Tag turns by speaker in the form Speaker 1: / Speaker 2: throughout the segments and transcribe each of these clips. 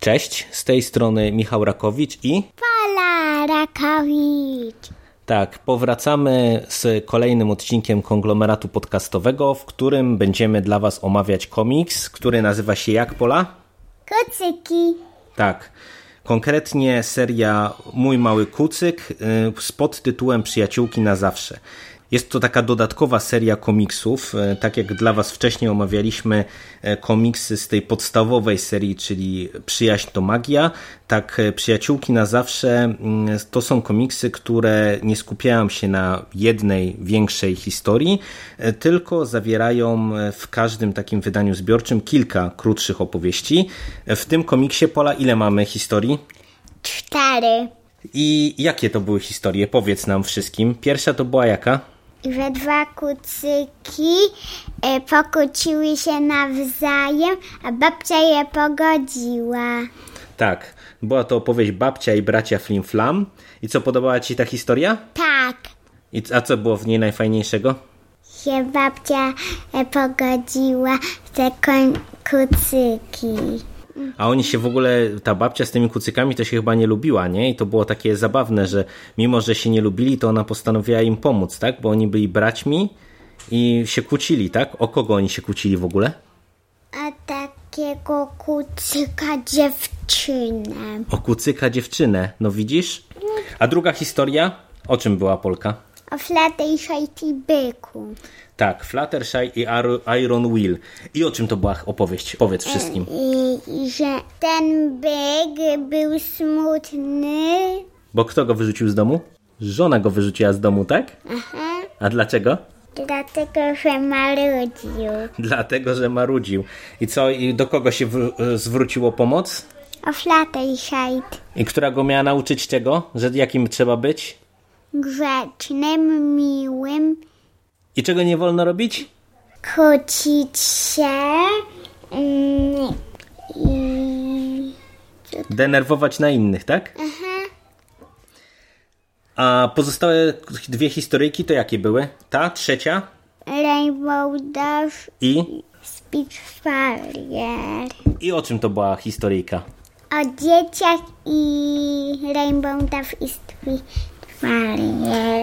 Speaker 1: Cześć, z tej strony Michał Rakowicz i...
Speaker 2: Ala Rakawicz.
Speaker 1: Tak, powracamy z kolejnym odcinkiem konglomeratu podcastowego, w którym będziemy dla Was omawiać komiks, który nazywa się Jak Pola?
Speaker 2: Kocyki.
Speaker 1: Tak. Konkretnie seria Mój Mały Kucyk y, z podtytułem Przyjaciółki na zawsze. Jest to taka dodatkowa seria komiksów, y, tak jak dla Was wcześniej omawialiśmy y, komiksy z tej podstawowej serii, czyli Przyjaźń to magia, tak y, Przyjaciółki na zawsze y, to są komiksy, które nie skupiają się na jednej większej historii, y, tylko zawierają y, w każdym takim wydaniu zbiorczym kilka krótszych opowieści. Y, W tym komiksie Pola ile mamy historii?
Speaker 2: Cztery.
Speaker 1: I jakie to były historie? Powiedz nam wszystkim. Pierwsza to była jaka?
Speaker 2: Że dwa kucyki e, pokłóciły się nawzajem, a babcia je pogodziła.
Speaker 1: Tak, była to opowieść Babcia i bracia Flim Flam. I co, podobała Ci ta historia?
Speaker 2: Tak,
Speaker 1: I, c- a co było w niej najfajniejszego?
Speaker 2: się babcia e, pogodziła te koń- kucyki.
Speaker 1: A oni się w ogóle, ta babcia z tymi kucykami to się chyba nie lubiła, nie? I to było takie zabawne, że mimo, że się nie lubili, to ona postanowiła im pomóc, tak? Bo oni byli braćmi i się kłócili, tak? O kogo oni się kłócili w ogóle?
Speaker 2: A takiego kucyka dziewczynę.
Speaker 1: O kucyka dziewczynę, no widzisz? A druga historia, o czym była Polka?
Speaker 2: O flatę i hajty byku.
Speaker 1: Tak, Fluttershy i Ar- Iron Will. I o czym to była opowieść? Powiedz wszystkim.
Speaker 2: I, i że ten byk był smutny,
Speaker 1: Bo kto go wyrzucił z domu? Żona go wyrzuciła z domu, tak? A dlaczego?
Speaker 2: dlatego że marudził.
Speaker 1: Dlatego, że marudził. I co, i do kogo się wr- zwróciło pomoc?
Speaker 2: O Fluttershyt
Speaker 1: I która go miała nauczyć tego, że jakim trzeba być?
Speaker 2: grzecznym, miłym,
Speaker 1: I czego nie wolno robić?
Speaker 2: kłócić się mm, i
Speaker 1: Denerwować na innych, tak? A pozostałe dwie historyjki to jakie były? Ta, trzecia
Speaker 2: Rainbow Dash
Speaker 1: i...
Speaker 2: Spitfire.
Speaker 1: I o czym to była historyjka?
Speaker 2: O dzieciach i Rainbow Dash i Spitfire.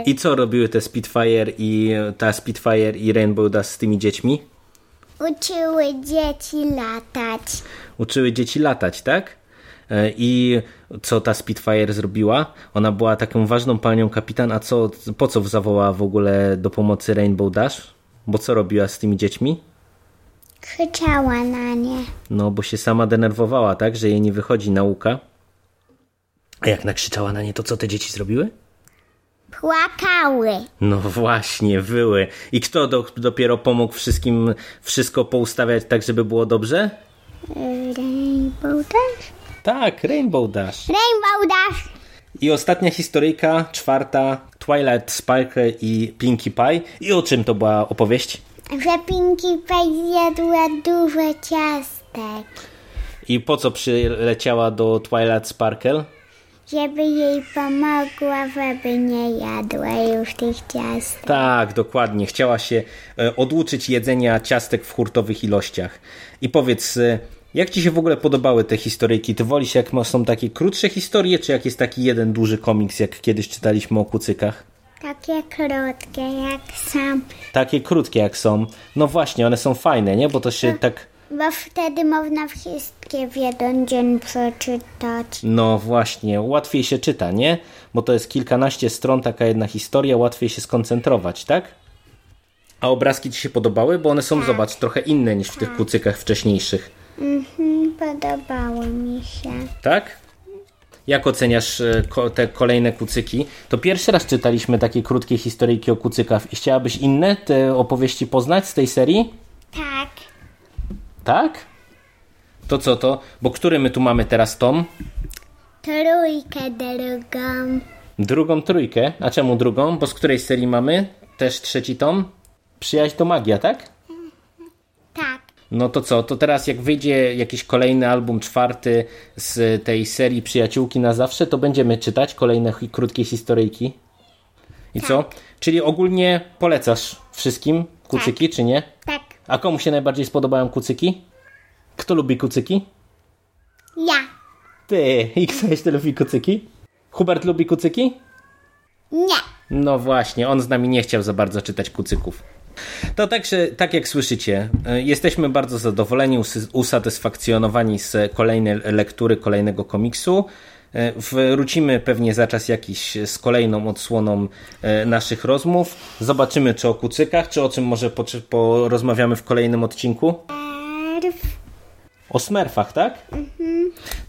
Speaker 1: I co robiły te Spitfire i e, ta Spitfire i Rainbow Dash z tymi dziećmi?
Speaker 2: Uczyły dzieci latać.
Speaker 1: Uczyły dzieci latać, tak? E, I co ta Spitfire zrobiła? Ona była taką ważną panią kapitan, a co, po co zawołała w ogóle do pomocy Rainbow Dash? Bo co robiła z tymi dziećmi?
Speaker 2: Krzyczała na nie.
Speaker 1: No, bo się sama denerwowała, tak? Że jej nie wychodzi nauka. A jak nakrzyczała na nie, to co te dzieci zrobiły?
Speaker 2: Płakały.
Speaker 1: No właśnie, wyły. I kto do, dopiero pomógł wszystkim wszystko poustawiać tak, żeby było dobrze?
Speaker 2: Rainbow Dash?
Speaker 1: Tak, Rainbow Dash.
Speaker 2: Rainbow Dash!
Speaker 1: I ostatnia historyjka, czwarta, Twilight Sparkle i Pinkie Pie. I o czym to była opowieść?
Speaker 2: Że Pinkie Pie zjadła dużo ciastek,
Speaker 1: I po co przyleciała do Twilight Sparkle?
Speaker 2: żeby jej pomogła, żeby nie jadła już tych ciastek.
Speaker 1: Tak, dokładnie. Chciała się e, oduczyć jedzenia ciastek w hurtowych ilościach. I powiedz, e, jak ci się w ogóle podobały te historyjki? Ty wolisz, jak ma- są takie krótsze historie, czy jak jest taki jeden duży komiks, jak kiedyś czytaliśmy o kucykach?
Speaker 2: Takie krótkie jak sam,
Speaker 1: Takie krótkie jak są. No właśnie, one są fajne, nie? Bo to się tak...
Speaker 2: bo wtedy można wszystkie w jeden dzień przeczytać.
Speaker 1: No właśnie, łatwiej się czyta, nie? Bo to jest kilkanaście stron, taka jedna historia, łatwiej się skoncentrować, tak? A obrazki ci się podobały? Bo one są, zobacz, trochę inne niż w tych kucykach wcześniejszych,
Speaker 2: Mhm, podobało mi się.
Speaker 1: tak? Jak oceniasz e, ko- te kolejne kucyki? To pierwszy raz czytaliśmy takie krótkie historyjki o kucykach. I chciałabyś inne te opowieści poznać z tej serii?
Speaker 2: Tak,
Speaker 1: Tak? To co to? Bo który my tu mamy teraz tom?
Speaker 2: Trójkę drugą.
Speaker 1: Drugą trójkę. A czemu drugą? Bo z której serii mamy? Też trzeci tom? Przyjaźń to magia, tak?
Speaker 2: Tak.
Speaker 1: No to co, to teraz jak wyjdzie jakiś kolejny album, czwarty z tej serii Przyjaciółki na zawsze, to będziemy czytać kolejne hi- krótkie historyjki. I co? Czyli ogólnie polecasz wszystkim kucyki, czy nie?
Speaker 2: Tak.
Speaker 1: A komu się najbardziej spodobają kucyki? Kto lubi kucyki?
Speaker 2: Ja.
Speaker 1: Ty! I ktoś ty lubi kucyki? Hubert lubi kucyki?
Speaker 2: Nie.
Speaker 1: No właśnie, on z nami nie chciał za bardzo czytać kucyków. To także, tak jak słyszycie, y, jesteśmy bardzo zadowoleni, usy- usatysfakcjonowani z kolejnej lektury, kolejnego komiksu. Y, Wrócimy pewnie za czas jakiś z kolejną odsłoną y, naszych rozmów. Zobaczymy, czy o kucykach, czy o czym może poczy- porozmawiamy w kolejnym odcinku. O smerfach, tak?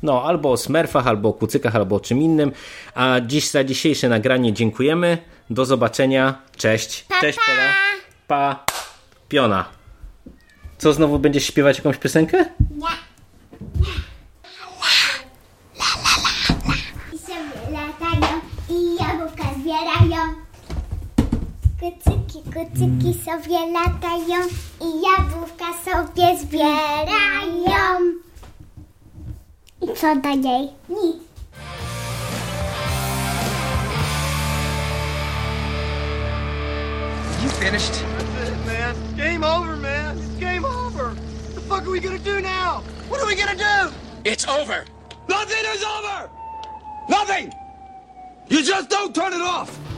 Speaker 1: No, albo o smerfach, albo o kucykach, albo o czym innym. A dziś za dzisiejsze nagranie dziękujemy. Do zobaczenia. Cześć. Cześć, Pela. Pa. Piona. Co, znowu będziesz śpiewać jakąś piosenkę?
Speaker 2: I sobie latają i jabłka zbierają. Kucyki, kucyki sobie latają i jabłka sobie zbierają. I co dalej? Nic.
Speaker 3: You finished?
Speaker 4: That's it, man. It's game over, man. It's game over. The fuck are we gonna do now? What are we gonna do?
Speaker 5: It's over. Nothing is over. Nothing. You just don't turn it off.